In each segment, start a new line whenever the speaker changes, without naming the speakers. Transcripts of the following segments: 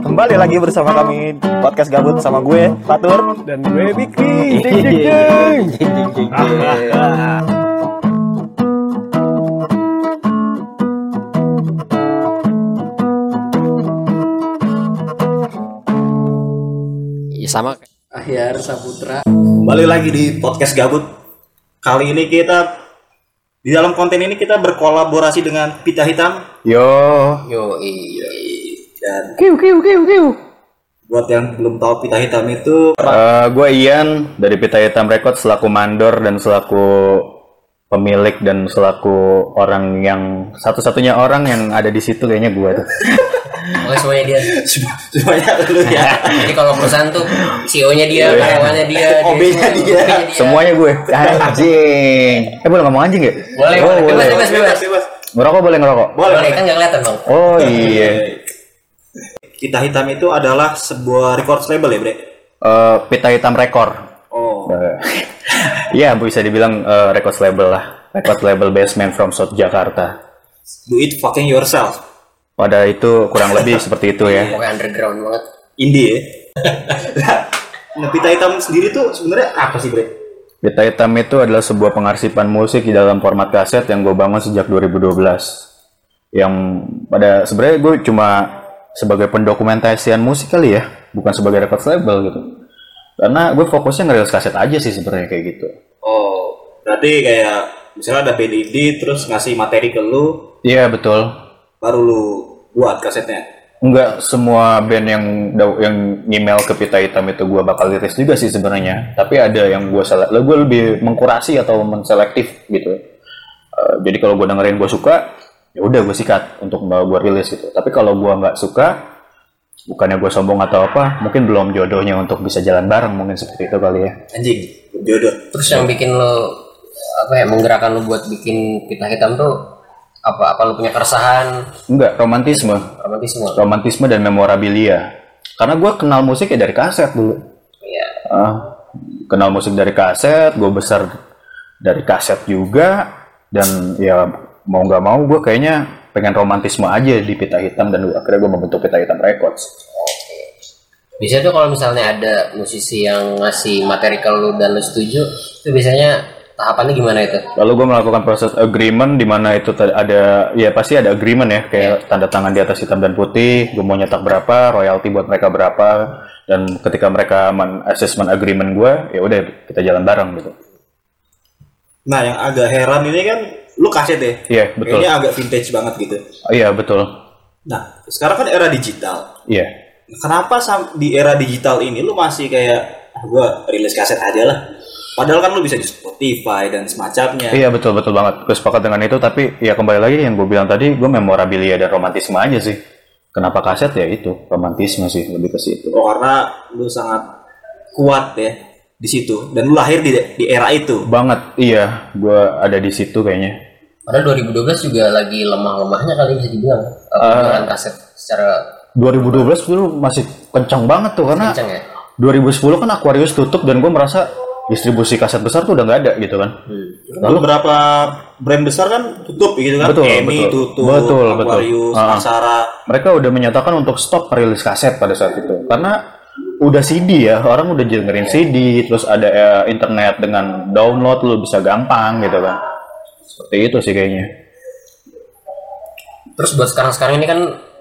Kembali lagi bersama kami podcast gabut sama gue Fatur.
dan gue Bikri
Ding, ding, ding.
Ya, sama
Ahyar Saputra
Kembali lagi di podcast gabut. Kali ini kita di dalam konten ini kita berkolaborasi dengan Pita Hitam.
yo iya
Dan buat yang belum tahu Pita Hitam itu
Eh, gue Ian dari Pita Hitam Record selaku mandor dan selaku pemilik dan selaku orang yang satu-satunya orang yang ada di situ kayaknya gue tuh.
oh semuanya dia
semuanya lu ya.
jadi kalau perusahaan tuh CEO nya dia karyawannya dia
OB-nya dia.
Semuanya gue. Anjing. Eh boleh ngomong anjing ya?
Boleh,
Oh,
boleh.
boleh.
Bebas, bebas.
bebas.
Ngerokok boleh ngerokok.
boleh,
Boleh.
kan nggak kelihatan bang
Oh iya.
Pita Hitam itu adalah sebuah record label ya, Bre?
Eh, Pita Hitam Record.
Oh.
Eh, Iya bisa dibilang eh, record label lah. Record label basement from South Jakarta.
Do it fucking yourself.
Pada itu kurang lebih seperti itu ya.
pokoknya underground banget
Indie ya. nah, Pita Hitam sendiri tuh sebenarnya apa sih, Bre?
Pita Hitam itu adalah sebuah pengarsipan musik di dalam format kaset yang gue bangun sejak 2012. Yang pada sebenarnya gue cuma sebagai pendokumentasian musik kali ya, bukan sebagai record label gitu. Karena gue fokusnya ngerilis kaset aja sih sebenarnya kayak gitu.
Oh, berarti kayak misalnya ada band indie terus ngasih materi ke lu,
Iya betul.
baru lu buat kasetnya.
Enggak semua band yang da- yang email ke Pita Hitam itu gue bakal liris juga sih sebenarnya. Tapi ada yang gue selek, gue lebih mengkurasi atau menselektif gitu. Eh, jadi kalau gue dengerin gue suka, ya udah gue sikat untuk gue rilis gitu. Tapi kalau gue nggak suka, bukannya gue sombong atau apa, mungkin belum jodohnya untuk bisa jalan bareng mungkin seperti itu kali ya.
Anjing, jodoh.
terus yang bikin lo apa ya menggerakkan lo buat bikin kita hitam tuh apa apa lo punya keresahan
Enggak romantisme,
romantisme
romantisme dan memorabilia. Karena gue kenal musik ya dari kaset dulu.
iya
Ah, kenal musik dari kaset, gue besar dari kaset juga, dan ya mau nggak mau gue kayaknya pengen romantisme aja di pita hitam dan akhirnya gue membentuk pita hitam records.
biasanya tuh kalau misalnya ada musisi yang ngasih materi ke lo dan lo setuju itu biasanya tahapannya gimana itu
Lalu gue melakukan proses agreement di mana itu ta- ada ya pasti ada agreement ya kayak tanda tangan di atas hitam dan putih, gue mau nyetak berapa, royalti buat mereka berapa, dan ketika mereka men assessment agreement gue, ya udah kita jalan bareng gitu.
Nah, yang agak heran ini kan lu kaset ya.
Iya, betul.
Kayaknya agak vintage banget gitu.
Oh, Iya betul,
Nah, sekarang kan era digital.
iya.
Kenapa sam- di era digital ini lu masih kayak ah, gua rilis kaset aja lah. Padahal kan lu bisa di Spotify dan semacamnya.
Iya betul betul banget. Gue sepakat dengan itu tapi ya kembali lagi yang gue bilang tadi gue memorabilia dan romantisme aja sih. Kenapa kaset ya itu romantisme sih lebih ke situ.
Oh, karena lu sangat kuat ya di situ dan lu lahir di di era itu.
Banget iya gue ada di situ kayaknya.
Padahal 2012 juga lagi lemah-lemahnya kali bisa dibilang eh, penjualan kaset secara
2012 dulu masih kencang banget tuh karena
kencang ya.
2010 kan Aquarius tutup dan gue merasa distribusi kaset besar tuh udah nggak ada gitu kan.
Lalu berapa brand besar kan tutup gitu kan?
Betul,
EMI
betul.
tutup,
Betul, betul.
Aquarius,
Ah.
Aksara.
mereka udah menyatakan untuk stop rilis kaset pada saat itu karena udah CD ya orang udah dengerin CD terus ada eh, internet dengan download lu bisa gampang gitu kan seperti itu sih kayaknya
Terus buat sekarang-sekarang ini kan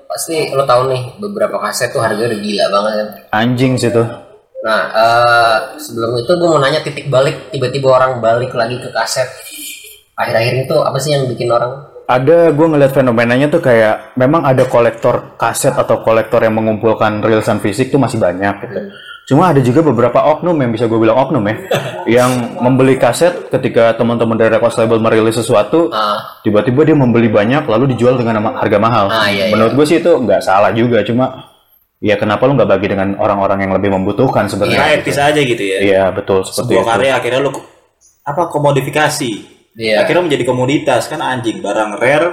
pasti lo tahu nih beberapa kaset tuh harganya udah gila banget kan.
anjing sih tuh
Nah, eh, sebelum itu gue mau nanya titik balik tiba-tiba orang balik lagi ke kaset. Akhir-akhir itu apa sih yang bikin orang
ada gue ngeliat fenomenanya tuh kayak memang ada kolektor kaset atau kolektor yang mengumpulkan rilisan fisik tuh masih banyak gitu. Cuma ada juga beberapa oknum yang bisa gue bilang oknum ya, yang membeli kaset ketika teman-teman dari record label merilis sesuatu,
Ah.
tiba-tiba dia membeli banyak lalu dijual dengan nama- harga mahal.
Ah, iya, iya.
Menurut gue sih itu nggak salah juga, cuma ya kenapa lu nggak bagi dengan orang-orang yang lebih membutuhkan
Nah,
Iya,
sebenarnya?
etis aja gitu ya.
Iya betul seperti
Sebuah
itu.
karya akhirnya lu ko- apa komodifikasi.
Iya.
Akhirnya menjadi komoditas kan anjing barang rare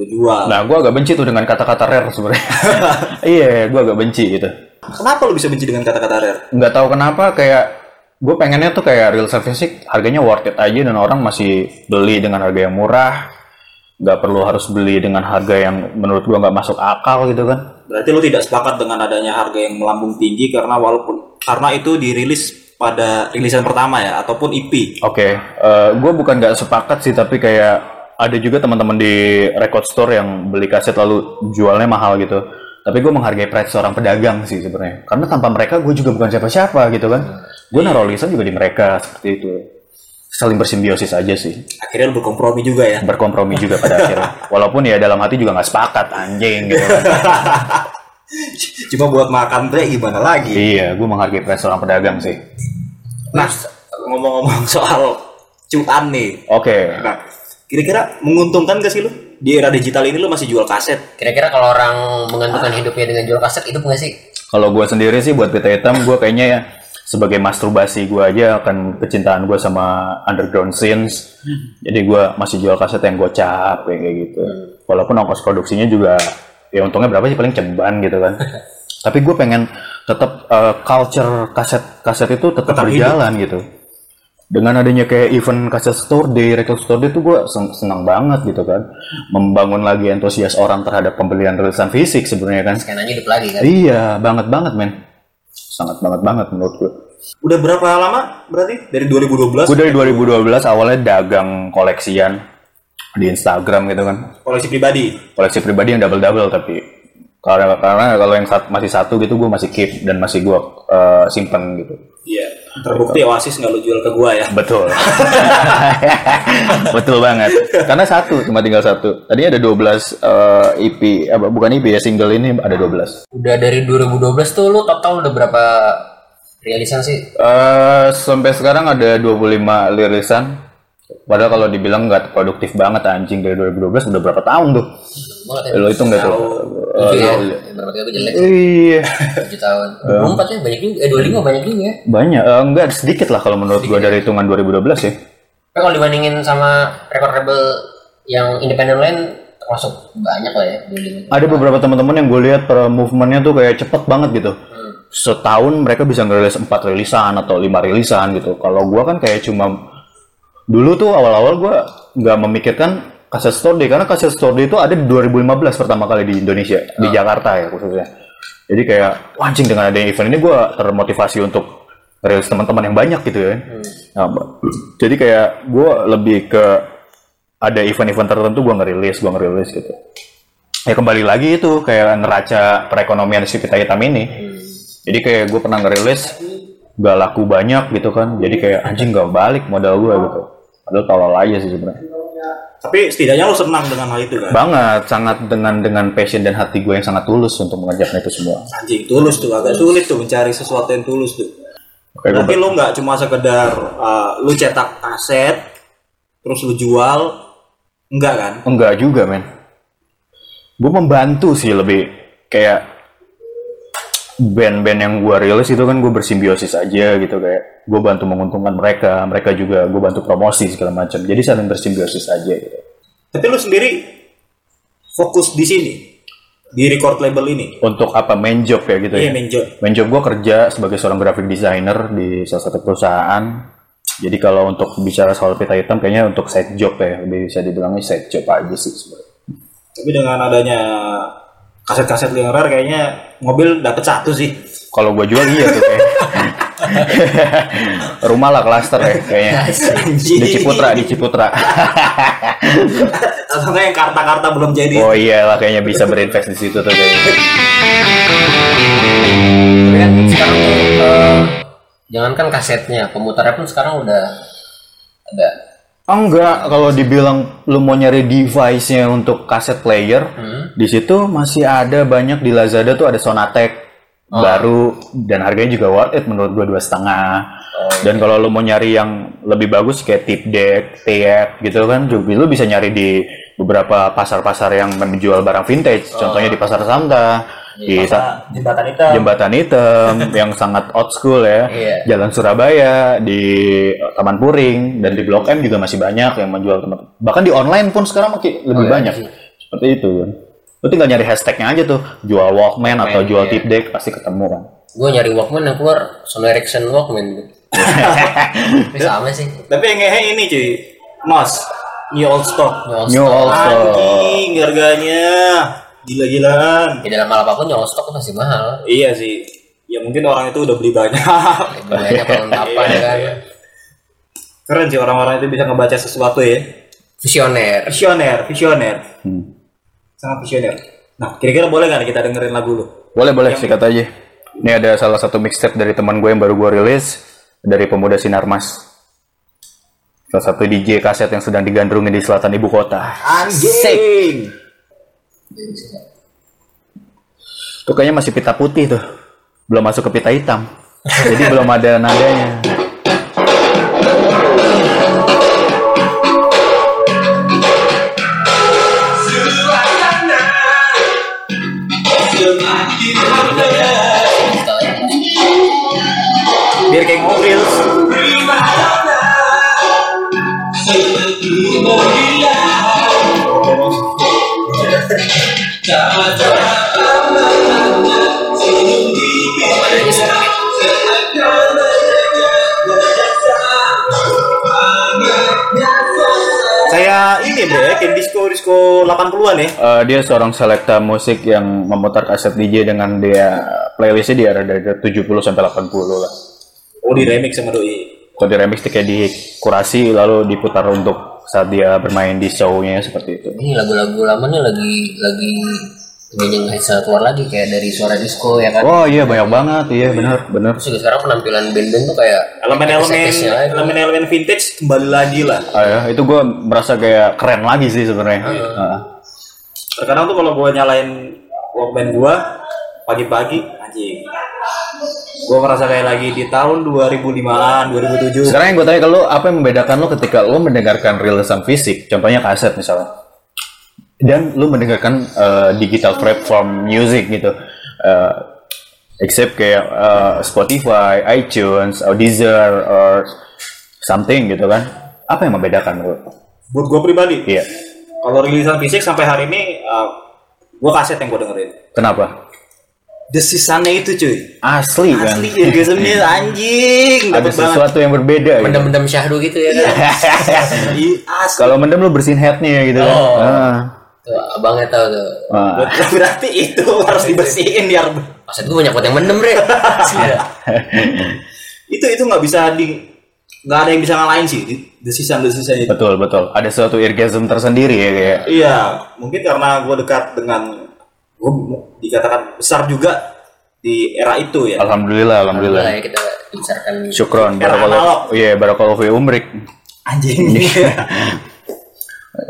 lu jual.
Nah, gue agak benci tuh dengan kata-kata rare sebenarnya. iya, gue agak benci gitu.
Kenapa lu bisa benci dengan kata-kata rare?
nggak tahu kenapa kayak gue pengennya tuh kayak real service harganya worth it aja dan orang masih beli dengan harga yang murah nggak perlu harus beli dengan harga yang menurut gua nggak masuk akal gitu kan
Berarti lu tidak sepakat dengan adanya harga yang melambung tinggi karena walaupun karena itu dirilis pada rilisan pertama ya ataupun EP.
oke eh, gua bukan nggak sepakat sih tapi kayak ada juga teman-teman di record store yang beli kaset lalu jualnya mahal gitu tapi gue menghargai pride seorang pedagang sih sebenarnya karena tanpa mereka gue juga bukan siapa-siapa gitu kan gue naruh lisan juga di mereka seperti itu saling bersimbiosis aja sih
Akhirnya lu berkompromi juga ya.
berkompromi juga pada akhirnya walaupun ya dalam hati juga nggak sepakat anjing gitu kan.
Cuma buat makan bre gimana lagi?
iya gue menghargai pride seorang pedagang sih
Nah, ngomong-ngomong soal cuan nih.
oke
Nah, kira-kira menguntungkan gak sih lu? Di era digital ini lu masih jual kaset.
Kira-kira kalau orang menggantungkan hidupnya dengan jual kaset itu nggak sih?
Kalau gue sendiri sih buat pita hitam gue kayaknya ya sebagai masturbasi gue aja akan kecintaan gue sama underground scenes. Jadi gue masih jual kaset yang gocap kayak kayak gitu. Walaupun ongkos produksinya juga ya untungnya berapa sih paling ceban gitu kan. Tapi gue pengen tetap eh, culture kaset kaset itu tetap
Tetap
berjalan gitu. Dengan adanya kayak event kaset store day, record store day itu gue senang banget gitu kan. Membangun lagi antusias orang terhadap pembelian rilisan fisik sebenarnya kan.
Skenanya hidup lagi kan?
Iya, banget banget men. Sangat banget banget menurut gue.
Udah berapa lama berarti? Dari 2012
Gue dari 2012 awalnya dagang koleksian di Instagram gitu kan.
koleksi pribadi.
Koleksi pribadi yang double double tapi karena karena kalau yang sat- masih satu gitu gue masih keep dan masih gue eh, simpen gitu.
Iya. Terbukti Oasis nggak lu jual ke gua ya.
Betul. Betul banget. Karena satu cuma tinggal satu. Tadinya ada 12 eh, EP apa bukan EP ya single ini ada 12.
Udah dari 2012 tuh lu total udah berapa rilisan sih?
eh sampai sekarang ada 25 lirisan. Padahal kalau dibilang nggak produktif banget anjing dari 2012 udah berapa tahun tuh?
Banget ya?
Eh, Lo hitung nggak tuh?
Tujuh ya? Berapa kali gue jelek?
Iya.
7 tahun. 24 ya banyak juga. Eh 25 banyak juga ya.
Banyak. Eh, nggak sedikit lah kalau menurut gua dari hitungan 2012 ya.
Tapi kalau dibandingin sama record rebel yang independen lain termasuk banyak lah ya building.
Ada beberapa teman-teman yang gue lihat per movementnya tuh kayak cepet banget gitu. Setahun mereka bisa ngerilis 4 rilisan atau 5 rilisan gitu. Kalau gua kan kayak cuma dulu tuh awal-awal gua nggak memikirkan kaset store day karena kaset store day itu ada di 2015 pertama kali di Indonesia di Jakarta ya khususnya jadi kayak "Wah, anjing dengan adanya event ini gua termotivasi untuk rilis teman-teman yang banyak gitu ya Nah, jadi kayak gua lebih ke ada event-event tertentu gua ngerilis gua ngerilis gitu ya kembali lagi itu kayak neraca perekonomian si pita hitam ini jadi kayak gue pernah ngerilis gak laku banyak gitu kan jadi kayak anjing gak balik modal gue gitu padahal tolol aja sih sebenarnya
Tapi setidaknya lu senang dengan hal itu kan.
banget sangat dengan dengan passion dan hati gue yang sangat tulus untuk mengerjakan itu semua
Anjing tulus tuh agak sulit tuh mencari sesuatu yang tulus tuh.
Oke,
Berarti
gue
lu nggak cuma sekedar uh, lu cetak kaset terus lu jual enggak kan?
enggak juga men gue membantu sih lebih kayak band-band yang gue rilis itu kan gue bersimbiosis aja gitu kayak gue bantu menguntungkan mereka mereka juga gue bantu promosi segala macam jadi saling bersimbiosis aja gitu
Tapi lu sendiri fokus di sini di record label ini.
untuk apa main job ya gitu
Iya,
ya
main job.
main job gue kerja sebagai seorang graphic designer di salah satu perusahaan jadi kalau untuk bicara soal pita hitam kayaknya untuk side job ya lebih bisa dibilangnya side job aja sih sebenarnya.
Tapi dengan adanya kaset-kaset yang rare kayaknya mobil dapat satu sih.
kalau gue jual iya tuh kayak rumah lah klaster ya kayaknya di Ciputra ya? di Ciputra
Atau nggak yang karta-karta belum jadi.
oh iyalah kayaknya bisa berinvest di situ tuh kayaknya
Tapi kan sekarang tuh eh, jangankan kasetnya, pemutarnya pun sekarang udah ada.
enggak kalau dibilang lu mau nyari device-nya untuk kaset player
Hmm?
di situ masih ada banyak di Lazada tuh ada Sonatek baru dan harganya juga worth it menurut gua dua setengah dan kalau lu mau nyari yang lebih bagus kayak tip deck, TF gitu kan juga lu bisa nyari di beberapa pasar-pasar yang menjual barang vintage contohnya di pasar Santa di sa-
jembatan itu
Jembatan Hitam yang sangat old school ya.
Iya.
Jalan Surabaya di Taman Puring dan di Blok M juga masih banyak yang menjual teman. Bahkan di online pun sekarang makin lebih banyak. Seperti itu kan. Lo tinggal nyari hashtagnya aja tuh, jual Walkman atau jual
iya.
tip deck pasti ketemu kan.
Gue nyari Walkman yang keluar Sony Ericsson Walkman. Tapi sama sih.
Tapi yang ngehe ini cuy, Mos. New Old Stock.
New Old Stock.
Anjing harganya gila-gilaan.
Ya dalam hal apapun nyolong stok masih mahal.
Iya sih. Ya mungkin orang itu udah beli banyak.
Banyak perlengkapan
Iya,
kan.
iya. Keren sih orang-orang itu bisa ngebaca sesuatu ya.
Visioner.
Visioner, visioner.
Hmm.
Sangat visioner. Nah, kira-kira boleh nggak kita dengerin lagu lu?
Boleh boleh sikat aja. Ini ada salah satu mixtape dari teman gue yang baru gue rilis dari pemuda Sinarmas. Salah satu DJ kaset yang sedang digandrungi di selatan ibu kota.
Anjing.
Tuh kayaknya masih pita putih tuh. Belum masuk ke pita hitam. Jadi belum ada nadanya.
gitu.
Biar kayak ngobrol. Saya ini bro ya, kayak disco disco 80-an ya.
Eh, dia seorang selekta musik yang memutar kaset DJ dengan dia playlistnya di area dari 70 sampai 80 lah.
Oh di remix sama doi.
Kalau di remix dia kayak dikurasi lalu diputar untuk saat dia bermain di show-nya seperti itu.
Ini lagu-lagu lama nih lagi lagi banyak hasil keluar lagi kayak dari suara disco ya kan.
Oh iya banyak banget, iya benar benar.
Terus juga sekarang penampilan band-band tuh kayak
Elemen-elemen
Ekes-ekesnya lagi.
elemen-elemen vintage kembali lagi lah.
Ah, ya, itu gue merasa kayak keren lagi sih sebenarnya. Ah.
Terkadang tuh kalau gua nyalain Walkman gua pagi-pagi anjing. Gua merasa kayak lagi di tahun 2005-an, 2007.
Sekarang yang gue tanya ke lo, apa yang membedakan lo ketika lo mendengarkan rilisan fisik, contohnya kaset misalnya, dan lo mendengarkan eh, digital platform music gitu, Eh, except kayak eh, Spotify, iTunes, or Deezer, or something gitu kan? Apa yang membedakan lo?
Buat gua pribadi,
Iya,
kalau rilisan fisik sampai hari ini uh, gua kaset yang gua dengerin.
kenapa?
Desisannya itu cuy.
Asli, kan?
Asli orgasmnya anjing,
Ada
dapat banget.
sesuatu yang berbeda. gitu.
mendem-mendem syahdu gitu ya kan.
Iya, Asli.
Kalau mendem lo bersihin headnya gitu kan?
Oh.
Ah.
Tuh, abangnya tahu tuh.
Ah.
Berarti itu harus
Iya.
dibersihin biar
Maksud gue banyak banget yang mendem, Bre. Iya.
itu itu nggak bisa di nggak ada yang bisa ngalahin sih desisan desisan itu.
Betul betul. Ada suatu irgasm tersendiri ya kayak.
Iya, mungkin karena gue dekat dengan gue dikatakan besar juga di era itu ya.
Alhamdulillah alhamdulillah.
Nah, ya kita bicarakan
Syukron
Era analog.
barakallahu. Iya barakallahu fi umrik.
Anjing.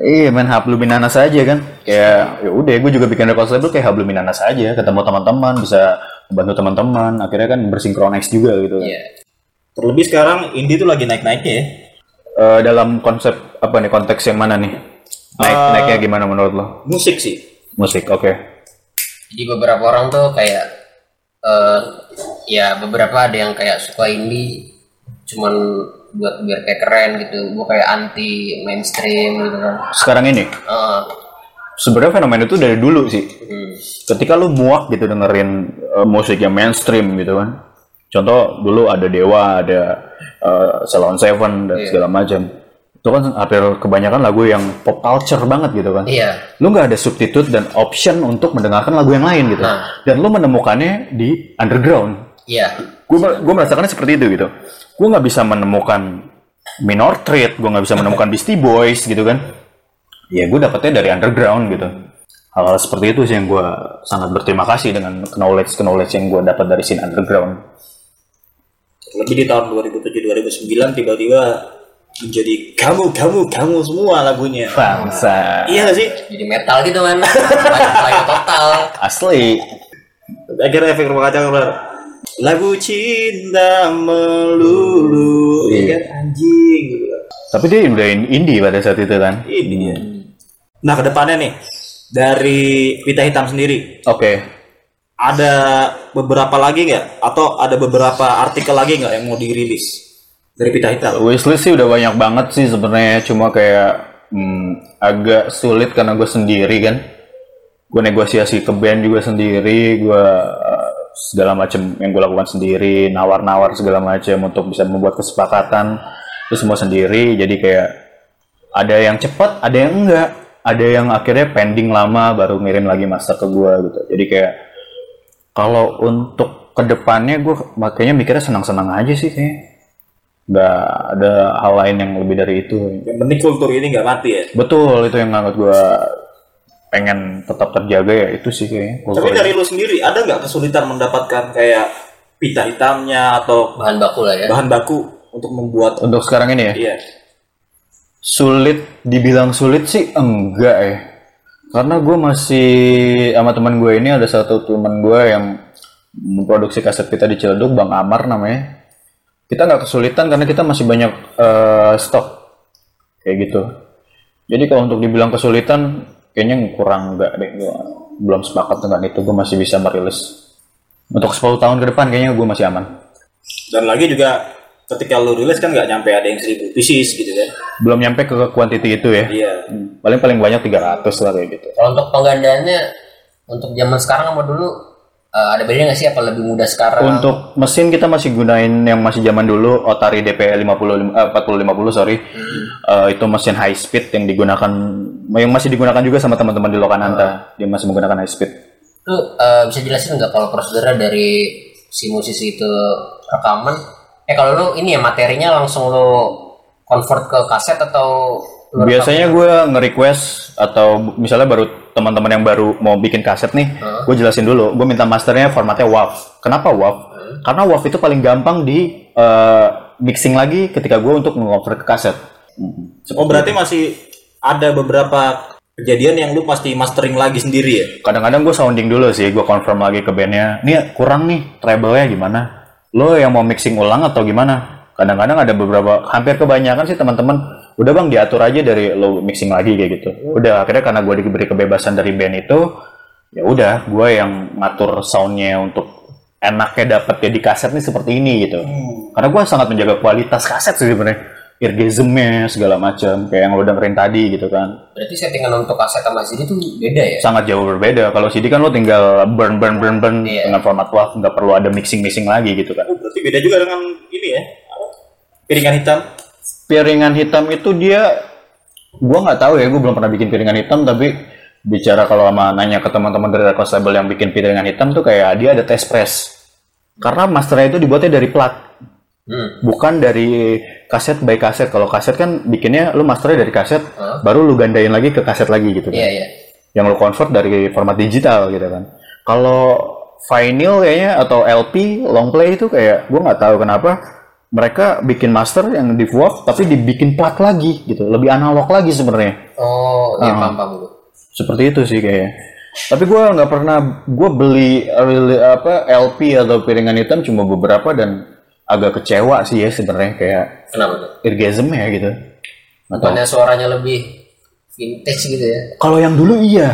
Iya main hablum minanas aja kan. Kayak ya udah gue juga bikin record label kayak hablum minanas aja ketemu teman-teman bisa bantu teman-teman akhirnya kan bersinkronis juga gitu kan.
Iya.
Terlebih sekarang indie tuh lagi naik-naiknya ya.
Eh, dalam konsep apa nih konteks yang mana nih? Naik naiknya gimana menurut lo?
Musik sih.
Musik oke.
Jadi beberapa orang tuh kayak eh ya beberapa ada yang kayak suka indie cuman buat biar kayak keren gitu. Gue kayak anti mainstream gitu kan.
Sekarang ini
Eh,
sebenarnya fenomena itu dari dulu sih.
hmm.
ketika lu muak gitu dengerin uh, musik yang mainstream gitu kan contoh dulu ada Dewa ada uh, Salon
Iya.
Seven dan segala macam itu kan hampir kebanyakan lagu yang pop culture banget gitu kan
Iya.
lu nggak ada substitute dan option untuk mendengarkan lagu yang lain gitu
Nah.
dan lu menemukannya di underground
Iya.
gue gue merasakannya seperti itu gitu gue nggak bisa menemukan minor threat gue nggak bisa menemukan Beastie Boys gitu kan ya gue dapetnya dari underground gitu hal-hal seperti itu sih yang gue sangat berterima kasih dengan knowledge knowledge yang gue dapat dari scene underground
Lebih di tahun 2007-2009 tiba-tiba menjadi kamu kamu kamu semua lagunya.
bangsa
Iya nggak sih?
Jadi metal gitu kan. Layu total.
asli
Akhirnya efek rumah kaca keluar. Lagu cinta melulu. Iya kan anjing. gitu kan.
tapi dia udah in- indie pada saat itu kan
Ini ya. Nah kedepannya nih dari Pita Hitam sendiri
oke
ada beberapa lagi nggak atau ada beberapa artikel lagi nggak yang mau dirilis dari pita hitam
Nah, wishlist sih udah banyak banget sih sebenarnya cuma kayak hmm, agak sulit karena gue sendiri kan gue negosiasi ke band juga sendiri gue eh, segala macam yang gue lakukan sendiri nawar-nawar segala macam untuk bisa membuat kesepakatan itu semua sendiri jadi kayak ada yang cepat ada yang enggak ada yang akhirnya pending lama baru ngirim lagi master ke gua gitu jadi kayak kalau untuk kedepannya gue makanya mikirnya senang-senang aja sih kayaknya nggak ada hal lain yang lebih dari itu
Yang penting kultur ini nggak mati ya.
betul itu yang ngangkat gue pengen tetap terjaga ya itu sih kayaknya
Tapi
kultur
dari lu sendiri ada nggak kesulitan mendapatkan kayak pita hitamnya atau
bahan baku lah ya
bahan baku untuk membuat
untuk sekarang ini ya
iya
sulit dibilang sulit sih enggak ya karena gue masih sama teman gue ini ada satu teman gue yang memproduksi kaset pita di Ciledug Bang Amar namanya kita nggak kesulitan karena kita masih banyak eh, stok kayak gitu jadi kalau untuk dibilang kesulitan kayaknya kurang enggak deh gua belum sepakat dengan itu gue masih bisa merilis untuk 10 tahun ke depan kayaknya gue masih aman
dan lagi juga ketika lu rilis kan nggak nyampe ada yang seribu pieces gitu kan
belum nyampe ke quantity itu ya
iya
paling paling banyak 300 lah kayak gitu
kalau untuk penggandaannya untuk zaman sekarang sama dulu eh, ada bedanya nggak sih apa lebih mudah sekarang
Untuk mesin kita masih gunain yang masih zaman dulu Otari DP 50 eh, 4050 sorry. Eh, itu mesin high speed yang digunakan yang masih digunakan juga sama teman-teman di Lokananta. Dia masih menggunakan high speed.
itu eh, bisa jelasin nggak kalau prosedurnya dari si musisi itu rekaman eh kalau lu ini ya materinya langsung lu convert ke kaset atau lu rekam?
Biasanya gue nge-request atau misalnya baru teman-teman yang baru mau bikin kaset nih, gue jelasin dulu. Gue minta masternya formatnya WAV. Kenapa WAV? Karena WAV itu paling gampang di eh, mixing lagi ketika gue untuk meng-convert ke kaset.
oh berarti masih ada beberapa kejadian yang lu pasti mastering lagi sendiri ya
kadang-kadang gue sounding dulu sih gue confirm lagi ke bandnya nih kurang nih treble-nya gimana lo yang mau mixing ulang atau gimana kadang-kadang ada beberapa hampir kebanyakan sih teman-teman udah bang diatur aja dari lo mixing lagi kayak gitu udah akhirnya karena gue diberi kebebasan dari band itu ya udah gue yang ngatur soundnya untuk enaknya dapetnya di kaset nih seperti ini gitu karena gue sangat menjaga kualitas kaset sih sebenarnya irgismnya segala macam kayak yang lo dengerin tadi gitu kan
berarti settingan untuk kaset sama CD itu beda ya
Iya. sangat jauh berbeda. Kalau CD kan lo tinggal burn burn burn burn
Iya.
dengan format WAV nggak perlu ada mixing mixing lagi gitu kan.
oh, berarti beda juga dengan ini ya apa? piringan hitam
Piringan hitam itu dia, gua nggak tahu ya, gua belum pernah bikin piringan hitam tapi bicara kalau sama nanya ke teman-teman dari Record Label yang bikin piringan hitam tuh kayak dia ada test press. Karena masternya itu dibuatnya dari plat,
hmm.
bukan dari kaset by kaset. Kalau kaset kan bikinnya lu masternya dari kaset, baru lu gandain lagi ke kaset lagi gitu kan.
iya iya
yang lo convert dari format digital gitu kan. Kalau vinyl kayaknya atau LP long play itu kayak gue nggak tahu kenapa mereka bikin master yang di WAV tapi dibikin plat lagi gitu, lebih analog lagi sebenarnya.
oh iya
Ah.
paham paham gua.
Seperti itu sih kayaknya. Tapi gue nggak pernah gue beli reli- apa LP atau piringan hitam cuma beberapa dan agak kecewa sih ya sebenarnya kayak
kenapa tuh
irgasm ya gitu. Nggak tahu.
bukannya suaranya lebih vintage gitu ya
Kalau yang dulu iya.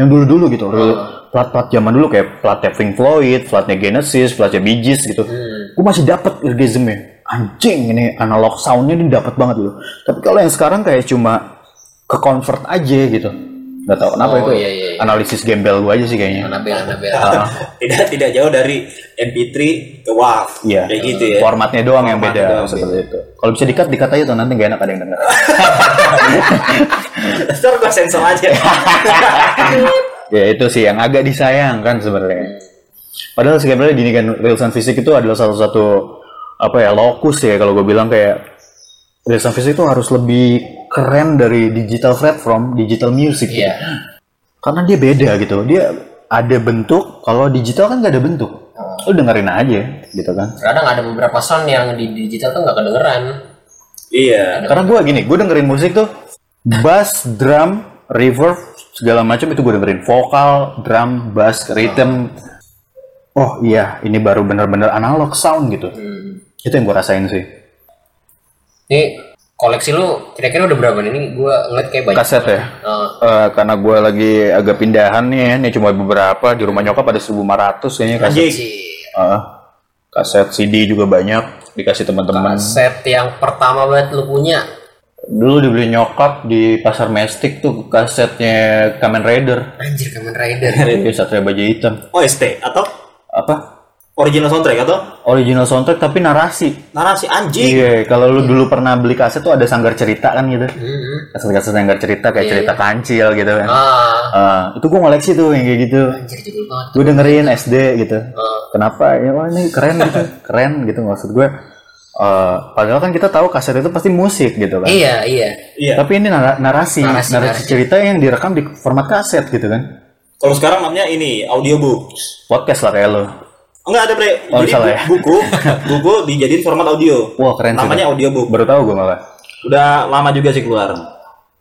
Yang dulu-dulu gitu.
Ah.
Real- Plat-plat zaman dulu kayak platnya Pink Floyd, platnya Genesis, platnya Bee Gees gitu.
Hmm.
Gue masih dapat irgismnya. Anjing ini analog soundnya ini dapat banget dulu. Tapi kalau yang sekarang kayak cuma ke convert aja gitu. Gak tau
Oh,
kenapa itu.
iya, iya, iya.
Analisis gembel gue aja sih kayaknya.
Anabel Anabel
Ah.
tidak tidak jauh dari MP3 ke WAV
Iya.
kayak gitu ya
Formatnya doang yang
Formatnya
beda
doang iya.
seperti itu. Kalau bisa dikat dikat aja tuh nanti gak enak ada yang denger.
ntar gua sensor aja
ya itu sih yang agak disayangkan sebenarnya. Padahal sebenarnya gini kan rilisan fisik itu adalah satu-satu apa ya lokus ya kalau gue bilang kayak rilisan fisik itu harus lebih keren dari digital platform, digital music. gitu.
iya
Karena dia beda gitu. Dia ada bentuk, kalau digital kan nggak ada bentuk. Lu dengerin aja gitu kan.
kadang ada beberapa sound yang di digital tuh nggak kedengeran
iya
Karena gue gini, gue dengerin musik tuh bass, drum, reverb, segala macam itu gue dengerin vokal, drum, bass, rhythm. Oh iya, ini baru bener-bener analog sound gitu. Itu yang gue rasain sih.
ini koleksi lu kira-kira udah berapa nih ini gua ngeliat kayak banyak
Kaset ya.
Eh,
Eh, karena gue lagi agak pindahan nih, ya, ini cuma beberapa di rumah nyokap ada 1.500 kayaknya kaset.
anjing
si
Eh, kaset CD juga banyak dikasih teman-teman.
set yang pertama banget lu punya
Dulu dibeli nyokap di pasar Mestik tuh kasetnya Kamen Rider.
anjir Kamen Rider
Iya, Satria Baja Hitam.
OST Oh, atau
Apa?
original soundtrack atau
original soundtrack tapi narasi
narasi anjing
Iya, kalau lu dulu pernah beli kaset tuh ada sanggar cerita kan gitu.
Mm-hmm.
Kaset-kaset sanggar cerita kayak cerita kancil gitu kan.
Iya, ah
Ah, itu gua ngoleksi tuh yang kayak gitu.
anjir jadul banget
Gue dengerin SD gitu.
Ah.
Kenapa? Ya wah ini keren gitu. keren gitu maksud gue. Eh, padahal kan kita tahu kaset itu pasti musik gitu kan.
iya iya
iya
Tapi ini nara- narasi, narasi,
Narasi, narasi.
cerita yang direkam di format kaset gitu kan.
kalau sekarang namanya ini audiobook
Podcast lah kayak lo.
enggak ada bre
Oh,
jadi
salah ya?
bu- buku buku dijadiin format audio
Wah, keren sih.
namanya audiobook
Baru tahu gue malah.
udah lama juga sih
Oh.
keluar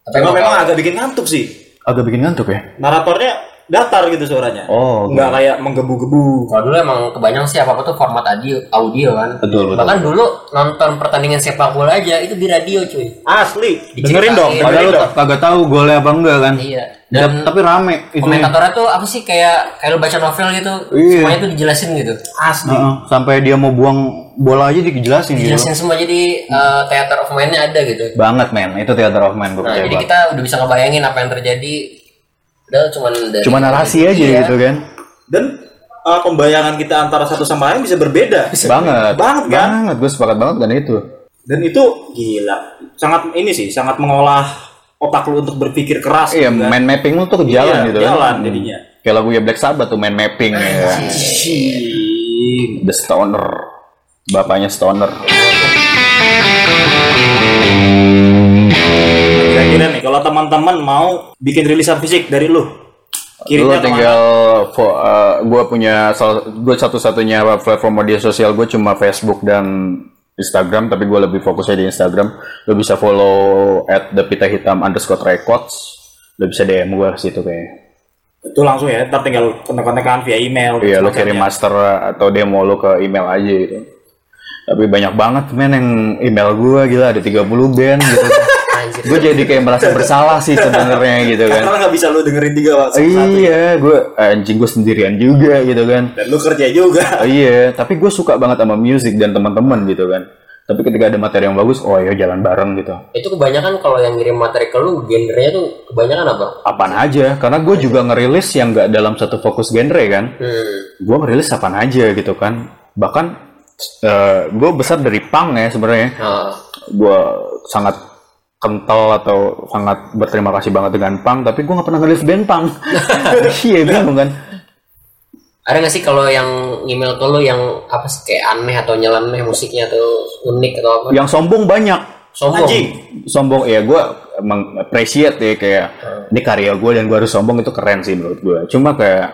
tapi
Cuma
emang
memang agak bikin ngantuk sih
Agak bikin ngantuk ya.
naratornya datar gitu suaranya
Oh,
nggak kayak menggebu-gebu
kalau dulu emang kebanyakan sih apa apa tuh format audio audio kan
Betul, betul.
bahkan dulu nonton pertandingan sepak bola aja itu di radio cuy
asli
Diceritain.
dengerin dong
Padahal
dengerin
lu
dong
kagak tahu golnya apa enggak kan.
iya
Dan, tapi rame itu.
komentatornya tuh apa sih kayak kayak lu baca novel gitu
Iya.
semuanya tuh dijelasin gitu
asli
sampai dia mau buang bola aja dijelasin gitu.
dijelasin semua jadi eh, theater of mind-nya ada gitu
Banget men, itu theater of man gue
nah
percaya
jadi
banget.
kita udah bisa ngebayangin apa yang terjadi udah cuman dari
Cuma narasi aja
Iya.
gitu kan.
dan uh, pembayangan kita antara satu sama lain bisa berbeda
Banget.
Banget, kan?
Banget, gue sepakat banget dan itu.
dan itu gila sangat ini sih sangat mengolah otak lu untuk berpikir keras
Iya,
gitu kan.
mind mapping lu tuh
Iya,
jalan gitu kan.
jalan jadinya.
Kayak lagu ya Black Sabbath tuh mind mapping ya. kan. The Stoner. Bapaknya Stoner.
kira-kira nih kalau teman-teman mau bikin rilisan fisik dari lu
Lu
kirimnya kemana?
tinggal fo- eh, gua punya gue satu-satunya platform media sosial gue cuma Facebook dan Instagram tapi gue lebih fokusnya di Instagram lo bisa follow at the pita hitam underscore records lo bisa DM gue situ kayaknya
itu langsung ya ntar tinggal kontak-kontakan via email
iya lo
semacamnya.
kirim master atau demo lo ke email aja gitu tapi banyak banget men yang email gue gila ada 30 band gitu
Anjir.
gue jadi kayak merasa bersalah sih sebenarnya gitu kan
karena nggak bisa lu dengerin tiga waktu
iya gue anjing gue sendirian juga gitu kan
dan lu kerja juga
Oh, iya, tapi gue suka banget sama music dan teman-teman gitu kan. Tapi ketika ada materi yang bagus, oh ya jalan bareng gitu.
itu kebanyakan kalau yang ngirim materi ke lu gendernya tuh kebanyakan apa
Apaan aja, karena gue juga ngerilis yang nggak dalam satu fokus genre kan.
hmm.
Gue ngerilis apaan aja gitu kan. Bahkan gue besar dari punk ya sebenarnya.
Nah,
Gue sangat kental atau sangat berterima kasih banget dengan punk, tapi gue nggak pernah ngerilis band punk. iya bingung kan.
ada nggak sih kalau yang email ke lu yang apa sih kayak aneh atau nyeleneh musiknya atau unik atau apa
Yang sombong banyak.
sombong
anjing
sombong ya gue mengapresiat ya kayak
Hmm.
ini karya gue dan gue harus sombong itu keren sih menurut gue cuma kayak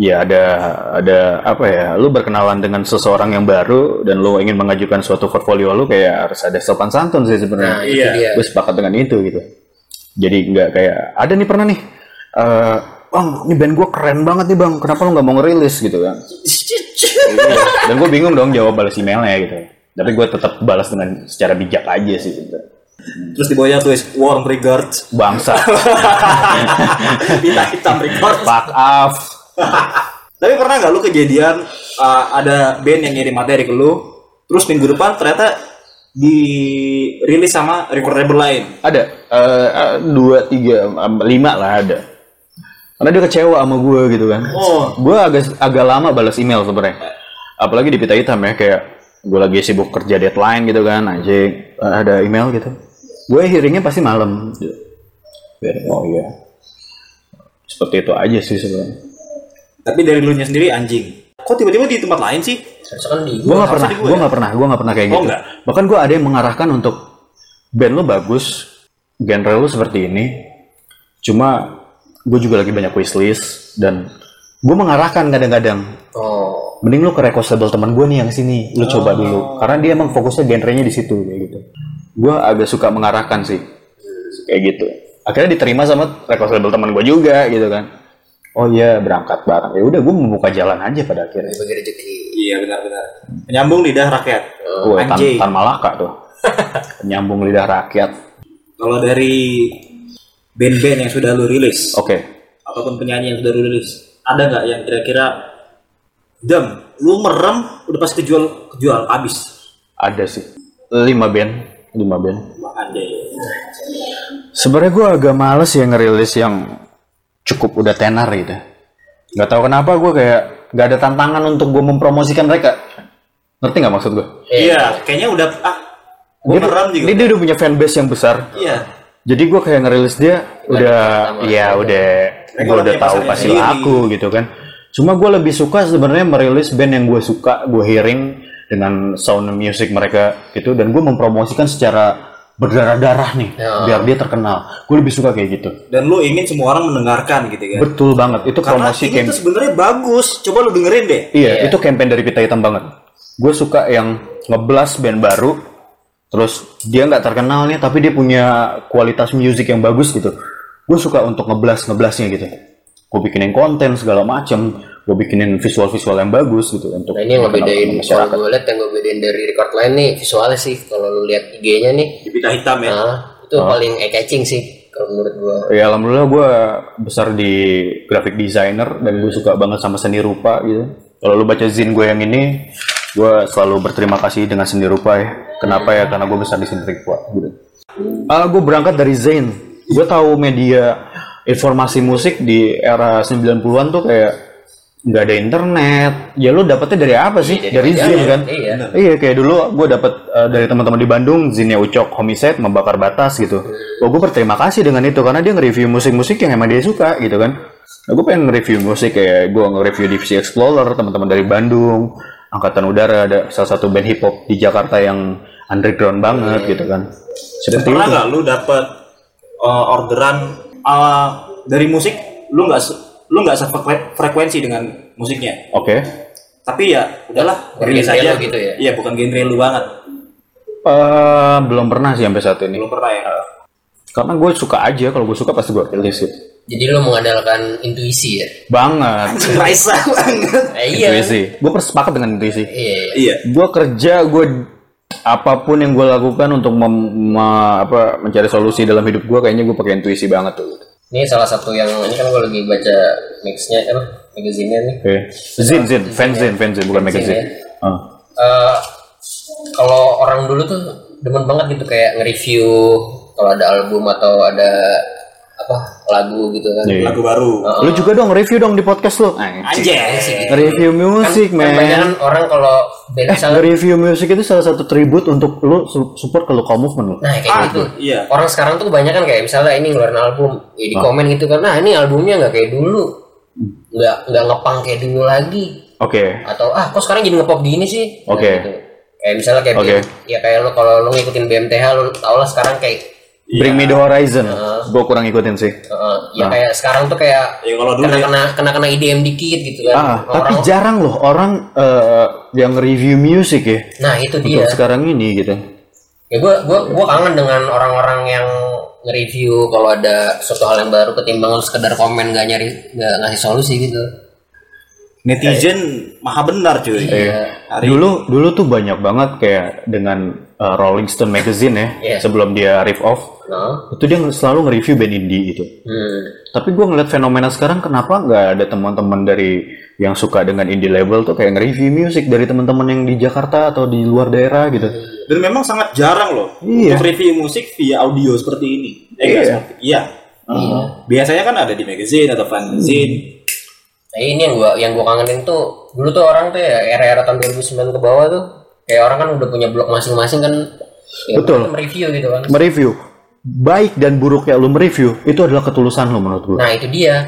ya ada ada apa ya lu berkenalan dengan seseorang yang baru dan lu ingin mengajukan suatu portfolio lu kayak harus ada sopan santun sih
nah
sebenarnya
itu
Iya.
dia
gue sepakat dengan itu gitu jadi nggak kayak ada nih pernah nih eh, bang ini band gue keren banget nih bang kenapa lu nggak mau ngerilis gitu kan Iya. dan gue bingung dong jawab balas emailnya gitu tapi gue tetap balas dengan secara bijak aja sih gitu. sebenarnya.
terus di bawahnya tulis warm regards
bangsa
kita hitam regards
Fuck off.
Tapi pernah nggak lu kejadian uh, ada band yang ngirim materi ke lu, terus minggu depan ternyata dirilis sama recordable lain.
Ada eh, eh, dua tiga em, lima lah ada. Karena dia kecewa sama gue gitu kan.
Oh.
Gue agak agak lama balas email sebenarnya. Apalagi di pita hitam ya kayak gue lagi sibuk kerja deadline gitu kan anjing eh, ada email gitu. Gue hearingnya pasti malam. gitu. Biar- Oh iya. Seperti itu aja sih sebenarnya.
Tapi dari lu nya sendiri anjing. Kok tiba-tiba di tempat lain sih?
Harusnya kan di
gue
gua.
nggak pernah gue nggak pernah gue nggak pernah kayak
Oh,
gitu
nggak?
bahkan gue ada yang mengarahkan untuk band lo bagus genre lo seperti ini cuma gue juga lagi banyak wishlist dan gue mengarahkan kadang-kadang
oh
mending lu ke recostable teman gue nih yang sini lu coba dulu karena dia emang fokusnya genrenya di situ kayak gitu gue agak suka mengarahkan sih kayak gitu akhirnya diterima sama recostable teman gue juga gitu kan oh iya berangkat bareng ya udah gue membuka jalan aja pada akhirnya
bagi rezeki
Iya benar-benar. Menyambung lidah rakyat.
Wah, tan,
Anjing.
Oh, tan malaka tuh. Nyambung lidah rakyat.
Kalau dari band-band yang sudah lu rilis
Oke.
ataupun penyanyi yang sudah lu rilis, ada nggak yang kira-kira jam lu merem udah pasti jual jual habis.
Ada sih. 5 band. 5 band.
Wah, Anjing.
Sebenarnya gue agak males ya ngerilis yang cukup udah tenar gitu. Gak tahu kenapa gue kayak nggak ada tantangan untuk gue mempromosikan mereka ngerti nggak maksud gue
Iya, kayaknya udah ah gue
dia,
merem juga.
dia, dia udah punya fanbase yang besar
Iya.
jadi gue kayak ngerilis dia udah
pertama.
ya udah
Mereka
gue
udah
udah
punya
tahu
pasarnya
pasti
sendiri.
laku gitu kan cuma gue lebih suka sebenarnya merilis band yang gue suka gue hearing dengan sound music mereka gitu dan gue mempromosikan secara berdarah-darah nih
Ya.
biar dia terkenal gue lebih suka kayak gitu
Dan lu ingin semua orang mendengarkan gitu kan.
betul banget itu
Karena
promosi gitu.
ini
camp-
tuh sebenarnya bagus. Coba lu dengerin deh.
Iya, itu campaign dari Pita Hitam banget. Gue suka yang ngeblas band baru, terus dia nggak terkenal nih, tapi dia punya kualitas musik yang bagus gitu. Gue suka untuk ngeblas ngeblasnya gitu. Gue bikinin konten segala macem, gue bikinin visual-visual yang bagus gitu untuk.
Nah ini yang ngebedain
memperkenalkan
kalau
masyarakat.
gue liat yang ngebedain dari record lain nih visualnya sih kalau lu lihat IG-nya nih
Di pita hitam
Iya.
ya.
nah, itu
Oh.
paling eye catching sih kalau menurut gue
Ya alhamdulillah gue besar di graphic designer dan gue suka banget sama seni rupa gitu. Kalau lu baca zin gue yang ini, gue selalu berterima kasih dengan seni rupa ya. Kenapa ya? Karena gue besar di seni rupa. Gitu. Ah, gue berangkat dari Zain. Gue tahu media informasi musik di era 90-an tuh kayak nggak ada internet. Ya lu dapetnya dari apa sih? dari Zain kan?
Iya.
Iya kayak dulu gue dapet eh, dari teman-teman di Bandung Zinnya Ucok Homicide membakar batas gitu. Oh gue berterima kasih dengan itu karena dia nge-review musik-musik yang emang dia suka gitu kan. Nah, gue pengen nge-review musik kayak gue nge-review Divisi Explorer teman-teman dari Bandung, Angkatan Udara ada salah satu band hip hop di Jakarta yang underground banget gitu kan. Seperti
Pernah
itu.
nggak lu dapet uh, orderan uh, dari musik lu nggak se- lu nggak sefrekuen- frekuensi dengan musiknya?
Oke.
Tapi ya udahlah,
Bukan
rilis
genre
aja
lu gitu ya?
Iya, bukan genre lu banget.
Eh, belum pernah sih sampai saat ini.
Belum pernah ya.
Oh.
Karena gue suka aja kalau gue suka pasti gue rilis gitu.
Jadi lu mengandalkan intuisi ya?
Banget.
Raisa banget.
Eh, iya.
Intuisi. Gue bersepakat dengan intuisi.
Iya. iya.
Iya.
gue kerja gue apapun yang gue lakukan untuk mem- me- apa, mencari solusi dalam hidup gue kayaknya gue pakai intuisi banget tuh
Ini salah satu yang ini kan gue lagi baca mixnya apa magazine-nya nih.
oke zin zin fan zin fan zin bukan magazine
ya.
Ah.
Eh, kalau orang dulu tuh demen banget gitu kayak nge-review kalau ada album atau ada apa lagu gitu kan.
Iya.
Lagu baru.
lu juga dong review dong di podcast lu
Anjay.
review musik
Kan
men
kebanyakan orang kalau band
eh
misalnya-
review musik itu salah satu tribut untuk lu su- support ke local movement lu
Nah kayak gitu.
iya.
Orang sekarang tuh kebanyakan kayak misalnya ini ngeluarin album, ya
Ah.
di komen gitu kan, nah ini albumnya nggak kayak dulu,
Hmm.
nggak nggak ngepang kayak dulu lagi,
oke
atau ah kok sekarang jadi ngepop gini sih? Nah,
Oke.
gitu. Kayak misalnya kayak
Oke.
ya kayak lo kalau lo ngikutin BMTH lo tau lah sekarang kayak
bring me the horizon gue kurang ikutin sih
eh, ya
Nah.
kayak sekarang tuh kayak
Ya kalau dulu
kena
ya.
kena kena kena IDM dikit gitu kan.
ah tapi
Orang-
jarang loh orang eh, yang review musik ya
nah itu dia.
untuk sekarang ini gitu
Ya gue gua, gua kangen dengan orang-orang yang nge-review kalau ada suatu hal yang baru ketimbang lu sekedar komen gak nyari gak ngasih solusi gitu.
Netizen maha benar cuy.
Iya.
Dulu dulu tuh banyak banget kayak dengan uh, Rolling Stone magazine ya
Iya.
sebelum dia rip off
No.
itu dia selalu nge-review band indie gitu.
Hmm.
Tapi gue ngeliat fenomena sekarang kenapa nggak ada teman-teman dari yang suka dengan indie label tuh kayak nge-review music dari teman-teman yang di Jakarta atau di luar daerah gitu.
Dan memang sangat jarang loh
Iya.
untuk review musik via audio seperti ini. Eh, nggak seperti- iya. Biasanya kan ada di magazine atau
Hmm.
fanzine.
Nah, ini yang gua yang gua kangenin tuh dulu tuh orang tuh ya era-era tahun 2009 ke bawah tuh kayak orang kan udah punya blog masing-masing kan ya,
Betul.
kan mereview gitu kan.
Mereview baik dan buruknya lu mereview itu adalah ketulusan lu menurut gue.
Nah, itu dia.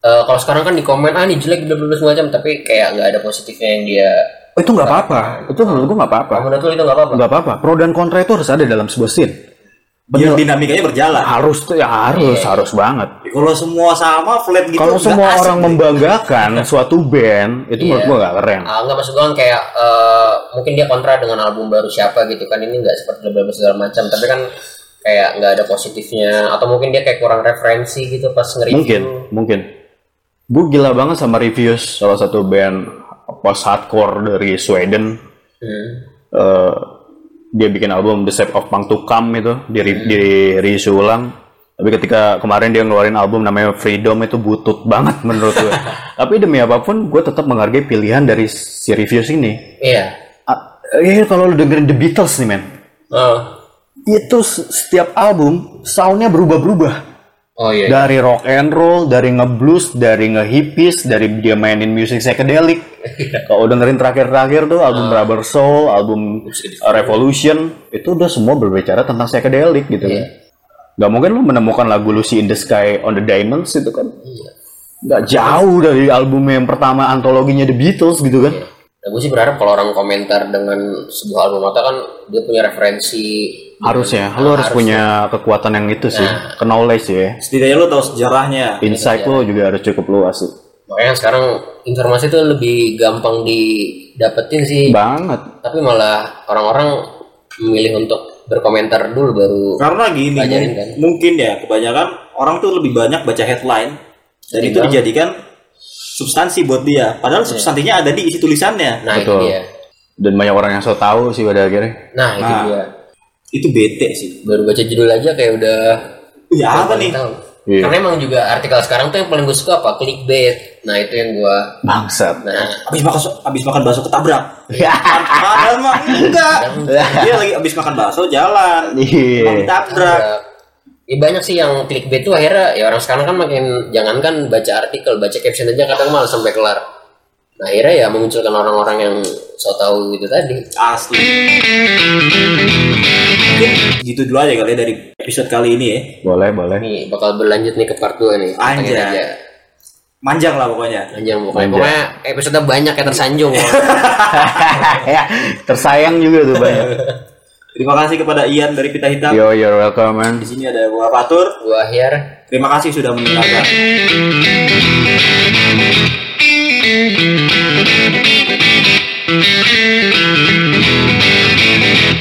Eh, kalau sekarang kan di komen ah ini jelek bla bla bla semacam tapi kayak nggak ada positifnya yang dia
Oh, itu nggak apa-apa. Itu menurut gue nggak apa-apa.
Kalau menurut lu itu nggak apa-apa.
Nggak apa-apa. Pro dan kontra itu harus ada dalam sebuah scene. Iya.
Biar dinamikanya berjalan.
Harus tuh ya harus harus banget.
Kalau semua sama flat gitu.
Kalau
nggak
semua
asik.
orang membanggakan suatu band, itu menurut gua gak keren.
Ah, enggak maksud gue kan kayak eh, mungkin dia kontra dengan album baru siapa gitu kan ini enggak seperti label segala macam tapi kan kayak nggak ada positifnya atau mungkin dia kayak kurang referensi gitu pas nge-review
Mungkin, mungkin. Gue gila banget sama reviews salah satu band post hardcore dari Sweden.
Hmm.
Eh, dia bikin album The Shape of Punk to Come itu di di reissue ulang. Tapi ketika kemarin dia ngeluarin album namanya Freedom itu butut banget menurut gue. Tapi demi apapun, gue tetap menghargai pilihan dari si reviews ini.
iya
Ah, eh, kalau lu dengerin The Beatles nih men,
oh
itu se- setiap album soundnya berubah-berubah
oh iya
dari rock and roll, dari ngeblues, dari ngehippies, dari dia mainin musik psychedelic. Kalau dengerin terakhir-terakhir tuh album Rubber Soul, album uh, Revolution, itu udah semua berbicara tentang psychedelic gitu kan. Gak mungkin lu menemukan lagu Lucy in the Sky on the Diamonds itu kan.
Iya.
Gak jauh dari album yang pertama antologinya The Beatles gitu kan.
Nah, gue sih berharap kalau orang komentar dengan sebuah album atau kan dia punya referensi
Harusnya, lu harus punya kekuatan yang itu sih, knowledge ya.
setidaknya lu tahu sejarahnya
Insight lu juga harus cukup luas sih.
makanya kan sekarang informasi itu lebih gampang didapetin sih
Banget.
tapi malah orang-orang memilih untuk berkomentar dulu baru
karena gini
Pelajarin
mung-
kan.
mungkin ya kebanyakan orang tuh lebih banyak baca headline dan itu
Ketimbang-
dijadikan substansi buat dia padahal substansinya ada di isi tulisannya
nah
Betul.
itu dia
dan banyak orang yang so tahu sih pada akhirnya
nah itu
Nah.
dia
itu bete sih
baru baca judul aja kayak udah
ya apa
udah
nih
tahu.
Iya.
karena emang juga artikel sekarang tuh yang paling gue suka apa clickbait nah itu yang gue
bangsat
nah
abis makan abis makan bakso ketabrak padahal mah enggak dia lagi abis makan bakso jalan Emang
iya
ketabrak
Ya banyak sih yang clickbait tuh akhirnya ya orang sekarang kan makin jangankan baca artikel, baca caption aja kadang malah sampai kelar. Nah, akhirnya ya memunculkan orang-orang yang so tau gitu tadi.
asli mungkin gitu dulu aja kali ya dari episode kali ini ya
boleh boleh
Nih bakal berlanjut nih ke part 2 nih. Pantengin
Anjay.
aja.
manjang lah pokoknya
Anjay, pokoknya,
Anjay.
pokoknya episode banyak yang tersanjung.
ya tersayang juga tuh banyak
terima kasih kepada Ian dari Pita Hitam
yo you're welcome man
di sini ada Bapak Patur
Gua akhir
Terima kasih sudah mendengarkan.